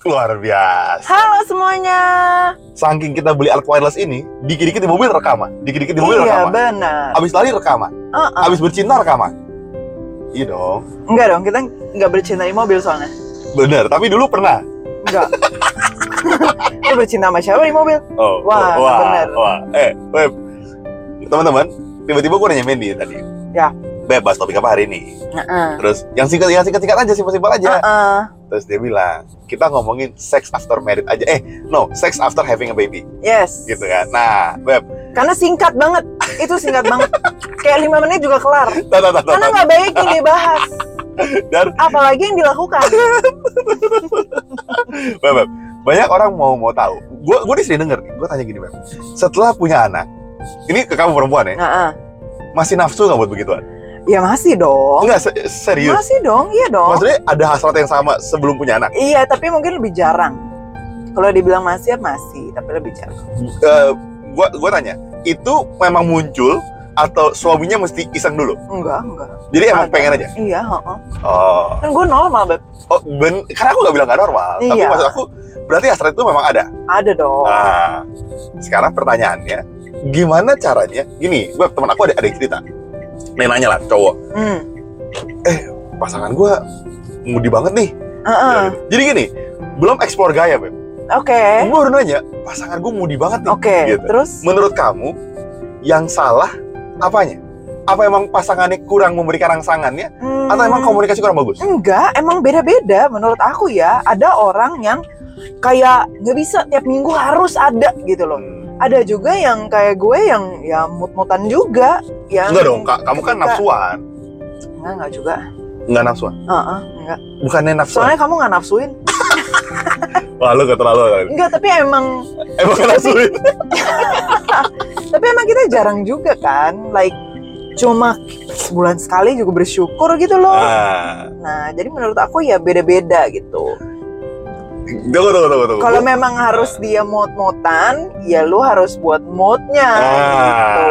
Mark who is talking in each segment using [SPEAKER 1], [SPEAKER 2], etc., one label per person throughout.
[SPEAKER 1] Luar biasa.
[SPEAKER 2] Halo semuanya.
[SPEAKER 1] Saking kita beli Arc Wireless ini, dikit-dikit di mobil rekaman, dikit-dikit di mobil
[SPEAKER 2] iya
[SPEAKER 1] rekaman.
[SPEAKER 2] benar.
[SPEAKER 1] Abis lari rekaman,
[SPEAKER 2] Uh-uh.
[SPEAKER 1] abis bercinta rekaman. Iya dong.
[SPEAKER 2] Enggak dong, kita nggak bercinta di mobil soalnya.
[SPEAKER 1] Bener, tapi dulu pernah.
[SPEAKER 2] Enggak. Lu bercinta sama siapa di mobil?
[SPEAKER 1] Oh,
[SPEAKER 2] Wah,
[SPEAKER 1] wah,
[SPEAKER 2] bener.
[SPEAKER 1] wah. Eh, Web. Teman-teman, tiba-tiba gue nanya Mandy tadi.
[SPEAKER 2] Ya.
[SPEAKER 1] Bebas topik apa hari ini?
[SPEAKER 2] Heeh.
[SPEAKER 1] Terus yang singkat yang singkat-singkat aja, simpel-simpel aja.
[SPEAKER 2] Heeh.
[SPEAKER 1] Terus dia bilang, kita ngomongin sex after married aja. Eh, no, sex after having a baby.
[SPEAKER 2] Yes.
[SPEAKER 1] Gitu kan. Nah, Beb.
[SPEAKER 2] Karena singkat banget. Itu singkat banget. Kayak lima menit juga kelar.
[SPEAKER 1] Tah, tah, tah, tah,
[SPEAKER 2] Karena
[SPEAKER 1] tah.
[SPEAKER 2] nggak baik yang dibahas.
[SPEAKER 1] nah, Dan,
[SPEAKER 2] Apalagi yang dilakukan.
[SPEAKER 1] Beb, Beb, Banyak orang mau mau tahu. Gue gue sering denger. Gue tanya gini, Beb. Setelah punya anak, ini ke kamu perempuan ya,
[SPEAKER 2] Heeh.
[SPEAKER 1] masih nafsu nggak buat begituan?
[SPEAKER 2] Ya masih dong.
[SPEAKER 1] Enggak, se- serius.
[SPEAKER 2] Masih dong, iya dong.
[SPEAKER 1] Maksudnya ada hasrat yang sama sebelum punya anak.
[SPEAKER 2] Iya, tapi mungkin lebih jarang. Kalau dibilang masih ya masih, tapi lebih jarang.
[SPEAKER 1] Eh, Gue gue tanya, itu memang muncul atau suaminya mesti iseng dulu?
[SPEAKER 2] Enggak, enggak.
[SPEAKER 1] Jadi emang
[SPEAKER 2] Ada.
[SPEAKER 1] pengen aja.
[SPEAKER 2] Iya, heeh.
[SPEAKER 1] Oh,
[SPEAKER 2] Kan gue normal, Beb.
[SPEAKER 1] oh ben, karena aku nggak bilang nggak normal. Tapi
[SPEAKER 2] Iya. Oh.
[SPEAKER 1] maksud aku berarti hasrat itu memang ada.
[SPEAKER 2] Ada dong.
[SPEAKER 1] Nah, sekarang pertanyaannya, gimana caranya? Gini, gue teman aku ada ada yang cerita. Nih nanya lah, cowok,
[SPEAKER 2] Hmm.
[SPEAKER 1] pasangan gue mudi banget nih.
[SPEAKER 2] Heeh.
[SPEAKER 1] Jadi gini, belum explore gaya, Beb.
[SPEAKER 2] Ah. Oke.
[SPEAKER 1] Gue baru nanya, pasangan gue mudi banget nih.
[SPEAKER 2] Oke.
[SPEAKER 1] Gitu.
[SPEAKER 2] Terus
[SPEAKER 1] Menurut kamu, yang salah apanya? Apa emang pasangannya kurang memberikan rangsangannya? Atau emang
[SPEAKER 2] hmm,
[SPEAKER 1] komunikasi kurang bagus?
[SPEAKER 2] Enggak, emang beda-beda menurut aku ya. Ada orang yang kayak nggak bisa tiap minggu harus ada gitu loh.
[SPEAKER 1] Hmm.
[SPEAKER 2] Ada juga yang kayak gue yang ya mut-mutan juga. Yang
[SPEAKER 1] Enggak dong, Kak. Kamu kan
[SPEAKER 2] Enggak.
[SPEAKER 1] nafsuan.
[SPEAKER 2] Enggak, enggak juga.
[SPEAKER 1] Enggak nafsuan.
[SPEAKER 2] Heeh, enggak.
[SPEAKER 1] Bukannya nafsuan.
[SPEAKER 2] Soalnya kamu nggak nafsuin.
[SPEAKER 1] Wah, lu keterlaluan.
[SPEAKER 2] Enggak, tapi emang
[SPEAKER 1] Emang nafsuin.
[SPEAKER 2] tapi emang kita jarang juga kan like cuma sebulan sekali juga bersyukur gitu loh
[SPEAKER 1] Ah.
[SPEAKER 2] nah jadi menurut aku ya beda-beda gitu
[SPEAKER 1] Tunggu, tunggu, tunggu, tunggu.
[SPEAKER 2] kalau memang harus dia mood-moodan ya lu harus buat moodnya
[SPEAKER 1] Ah.
[SPEAKER 2] gitu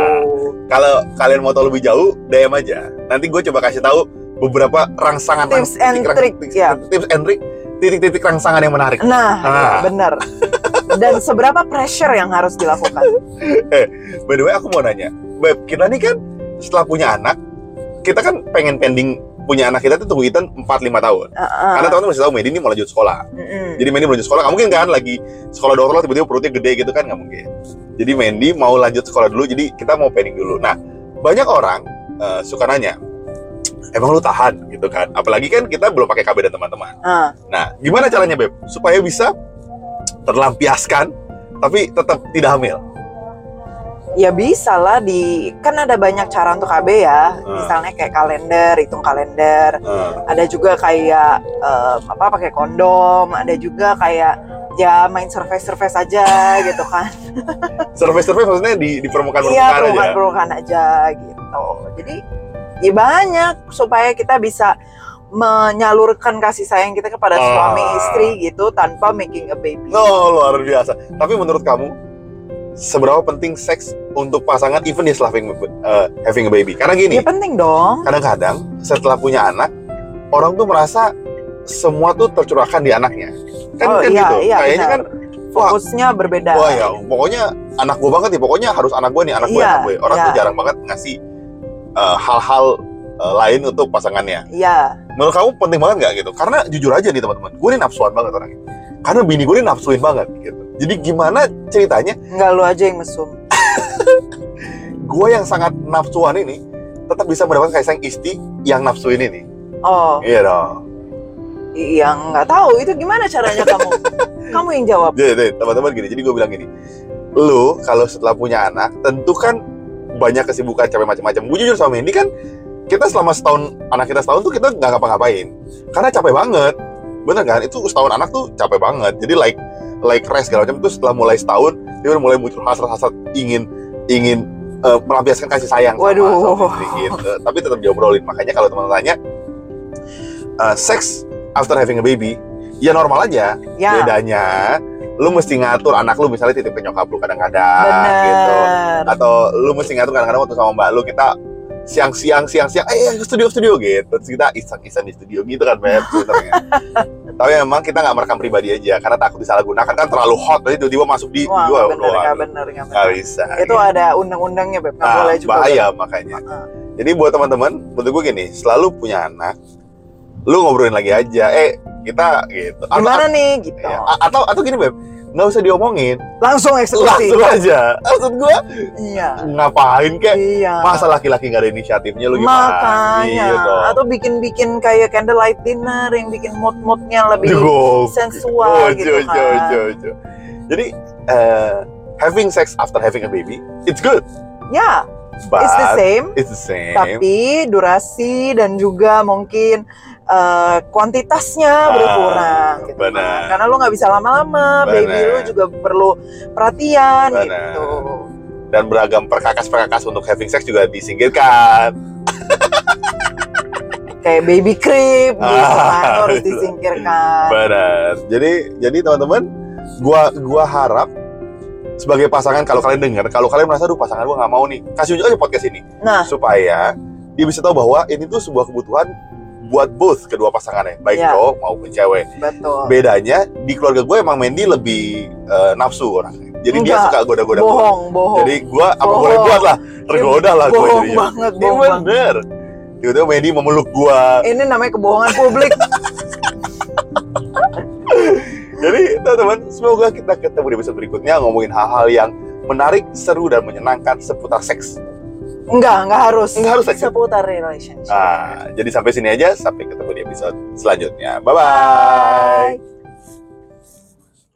[SPEAKER 1] kalau kalian mau tahu lebih jauh DM aja nanti gue coba kasih tahu beberapa rangsangan
[SPEAKER 2] Tips
[SPEAKER 1] rang-
[SPEAKER 2] and trick,
[SPEAKER 1] tips,
[SPEAKER 2] ya.
[SPEAKER 1] tips and trick titik-titik rangsangan yang menarik
[SPEAKER 2] nah
[SPEAKER 1] Ah.
[SPEAKER 2] bener dan seberapa pressure yang harus dilakukan
[SPEAKER 1] by the way aku mau nanya Beb, kita nih kan setelah punya anak kita kan pengen pending punya anak kita tuh tunggu Ethan 4-5 tahun
[SPEAKER 2] Heeh.
[SPEAKER 1] karena teman-teman masih tahu Medi ini mau lanjut sekolah
[SPEAKER 2] Ah, Mm-mm.
[SPEAKER 1] jadi Medi mau lanjut sekolah nggak mungkin kan lagi sekolah dua orang tiba-tiba perutnya gede gitu kan nggak mungkin jadi Mendy mau lanjut sekolah dulu jadi kita mau pending dulu nah banyak orang eh, suka nanya emang lu tahan gitu kan apalagi kan kita belum pakai KB dan teman-teman
[SPEAKER 2] Ah.
[SPEAKER 1] Nah, gimana caranya Beb? Supaya bisa terlampiaskan tapi tetap tidak hamil.
[SPEAKER 2] ya bisa lah di kan ada banyak cara untuk KB
[SPEAKER 1] Ah.
[SPEAKER 2] ya misalnya kayak kalender hitung kalender
[SPEAKER 1] Eh,
[SPEAKER 2] ada juga kayak em, apa pakai kondom ada juga kayak ya main survei survei saja gitu kan
[SPEAKER 1] Survei-survei maksudnya di, di permukaan permukaan aja.
[SPEAKER 2] iya perubahan perubahan aja gitu jadi ya banyak supaya kita bisa menyalurkan kasih sayang kita kepada
[SPEAKER 1] Ah.
[SPEAKER 2] suami istri gitu tanpa making a baby
[SPEAKER 1] No, luar biasa. Tapi menurut kamu seberapa penting seks untuk pasangan even dia setelah having, eh, having a baby? Karena gini,
[SPEAKER 2] ya penting dong
[SPEAKER 1] kadang-kadang setelah punya anak orang tuh merasa semua tuh tercurahkan di anaknya. Kan
[SPEAKER 2] oh
[SPEAKER 1] kan
[SPEAKER 2] iya
[SPEAKER 1] gitu.
[SPEAKER 2] iya
[SPEAKER 1] Kayaknya
[SPEAKER 2] benar.
[SPEAKER 1] kan wah,
[SPEAKER 2] fokusnya berbeda
[SPEAKER 1] Wah ya, pokoknya anak gue banget nih. Pokoknya harus anak gue nih, anak gue,
[SPEAKER 2] Iya,
[SPEAKER 1] anak gue. Orang
[SPEAKER 2] iya.
[SPEAKER 1] tuh jarang banget ngasih eh, hal-hal eh, lain untuk pasangannya.
[SPEAKER 2] Iya.
[SPEAKER 1] Menurut kamu penting banget nggak gitu? Karena jujur aja nih teman-teman, gue nih nafsuan banget orangnya. Karena bini gue nih nafsuin banget gitu. Jadi gimana ceritanya
[SPEAKER 2] nggak lu aja yang mesum
[SPEAKER 1] gue yang sangat nafsuan ini tetap bisa mendapatkan kaisang istri yang nafsuin ini?
[SPEAKER 2] oh
[SPEAKER 1] Iya dong.
[SPEAKER 2] iya nggak tahu itu gimana caranya kamu kamu yang jawab
[SPEAKER 1] Jadi jadi, teman-teman gini, jadi gue bilang gini, lo kalau setelah punya anak tentu kan banyak kesibukan capek macam-macam. Gue jujur sama ini kan kita selama setahun anak kita setahun tuh kita nggak ngapa-ngapain karena capek banget bener kan itu setahun anak tuh capek banget jadi like like rest segala macam tuh setelah mulai setahun dia udah mulai muncul hasrat-hasrat ingin ingin eh, melampiaskan kasih sayang sama-
[SPEAKER 2] Waduh.
[SPEAKER 1] sama istri gitu. tapi tetap diobrolin makanya kalau teman tanya eh, sex after having a baby ya normal aja
[SPEAKER 2] ya
[SPEAKER 1] bedanya lu mesti ngatur anak lu misalnya titip ke nyokap lu kadang-kadang
[SPEAKER 2] Bener.
[SPEAKER 1] gitu atau lu mesti ngatur kadang-kadang waktu sama mbak lu kita siang-siang siang-siang eh ke studio-studio gitu terus kita iseng-iseng di studio gitu kan Beb sebenarnya tapi memang kita nggak merekam pribadi aja karena takut disalahgunakan kan terlalu hot jadi tiba-tiba masuk di
[SPEAKER 2] Wah,
[SPEAKER 1] gua
[SPEAKER 2] nggak
[SPEAKER 1] waduh,
[SPEAKER 2] bener, nggak bener, nggak bener.
[SPEAKER 1] nggak bisa
[SPEAKER 2] Itu ada undang-undangnya, Beb. Nggak
[SPEAKER 1] Nah,
[SPEAKER 2] boleh juga.
[SPEAKER 1] bahaya makanya
[SPEAKER 2] Heeh.
[SPEAKER 1] jadi buat teman-teman menurut gue gini selalu punya anak lu ngobrolin lagi aja eh kita gitu Atau-
[SPEAKER 2] Gimana nih, gitu.
[SPEAKER 1] Ya, a- atau atau gini Beb nggak usah diomongin
[SPEAKER 2] Langsung eksekusi.
[SPEAKER 1] langsung aja maksud gue
[SPEAKER 2] Iya.
[SPEAKER 1] ngapain kek
[SPEAKER 2] Iya.
[SPEAKER 1] masa laki-laki nggak ada inisiatifnya lu gimana
[SPEAKER 2] Makanya.
[SPEAKER 1] gitu
[SPEAKER 2] Atau bikin-bikin kayak candlelight dinner yang bikin mood-moodnya lebih
[SPEAKER 1] Duh,
[SPEAKER 2] sensual
[SPEAKER 1] ojo,
[SPEAKER 2] gitu kan.
[SPEAKER 1] ojo, ojo, ojo. Jadi eh, having sex after having a baby, it's good,
[SPEAKER 2] Ya,
[SPEAKER 1] but
[SPEAKER 2] it's the same.
[SPEAKER 1] it's the same.
[SPEAKER 2] Tapi durasi dan juga mungkin eh, kuantitasnya
[SPEAKER 1] Ah,
[SPEAKER 2] berkurang gitu. kan.
[SPEAKER 1] benar.
[SPEAKER 2] Karena lu nggak bisa lama-lama, baby
[SPEAKER 1] Benar.
[SPEAKER 2] lu juga perlu perhatian
[SPEAKER 1] Benar.
[SPEAKER 2] gitu.
[SPEAKER 1] Dan beragam perkakas-perkakas untuk having sex juga disingkirkan.
[SPEAKER 2] Kayak baby creep gitu kan,
[SPEAKER 1] Ah,
[SPEAKER 2] lu harus
[SPEAKER 1] betul.
[SPEAKER 2] disingkirkan.
[SPEAKER 1] Benar. uh, Jadi jadi teman-teman, gua gua harap sebagai pasangan kalau kalian dengar, kalau kalian merasa duh pasangan gua nggak mau nih, kasih unjuk aja podcast ini
[SPEAKER 2] Nah,
[SPEAKER 1] supaya dia bisa tahu bahwa ini tuh sebuah kebutuhan buat both kedua pasangannya, baik
[SPEAKER 2] Iya. Oh.
[SPEAKER 1] cowok maupun cewek.
[SPEAKER 2] betul.
[SPEAKER 1] bedanya di keluarga gue emang Mandy lebih eh, nafsu orangnya jadi dia
[SPEAKER 2] Enggak.
[SPEAKER 1] suka goda-goda gue.
[SPEAKER 2] bohong, bohong.
[SPEAKER 1] jadi gue apa
[SPEAKER 2] Bohong.
[SPEAKER 1] boleh buat lah tergoda lah gue
[SPEAKER 2] bohong
[SPEAKER 1] jadinya
[SPEAKER 2] banget,
[SPEAKER 1] ini
[SPEAKER 2] bohong banget.
[SPEAKER 1] bener tiba-tiba Mandy memeluk gue
[SPEAKER 2] Ini namanya kebohongan publik.
[SPEAKER 1] jadi teman-teman semoga kita ketemu di episode berikutnya ngomongin hal-hal yang menarik seru dan menyenangkan seputar seks
[SPEAKER 2] Enggak, enggak harus.
[SPEAKER 1] Enggak harus, Lexi.
[SPEAKER 2] Seputar relationship.
[SPEAKER 1] nah jadi sampai sini aja sampai ketemu di episode selanjutnya bye bye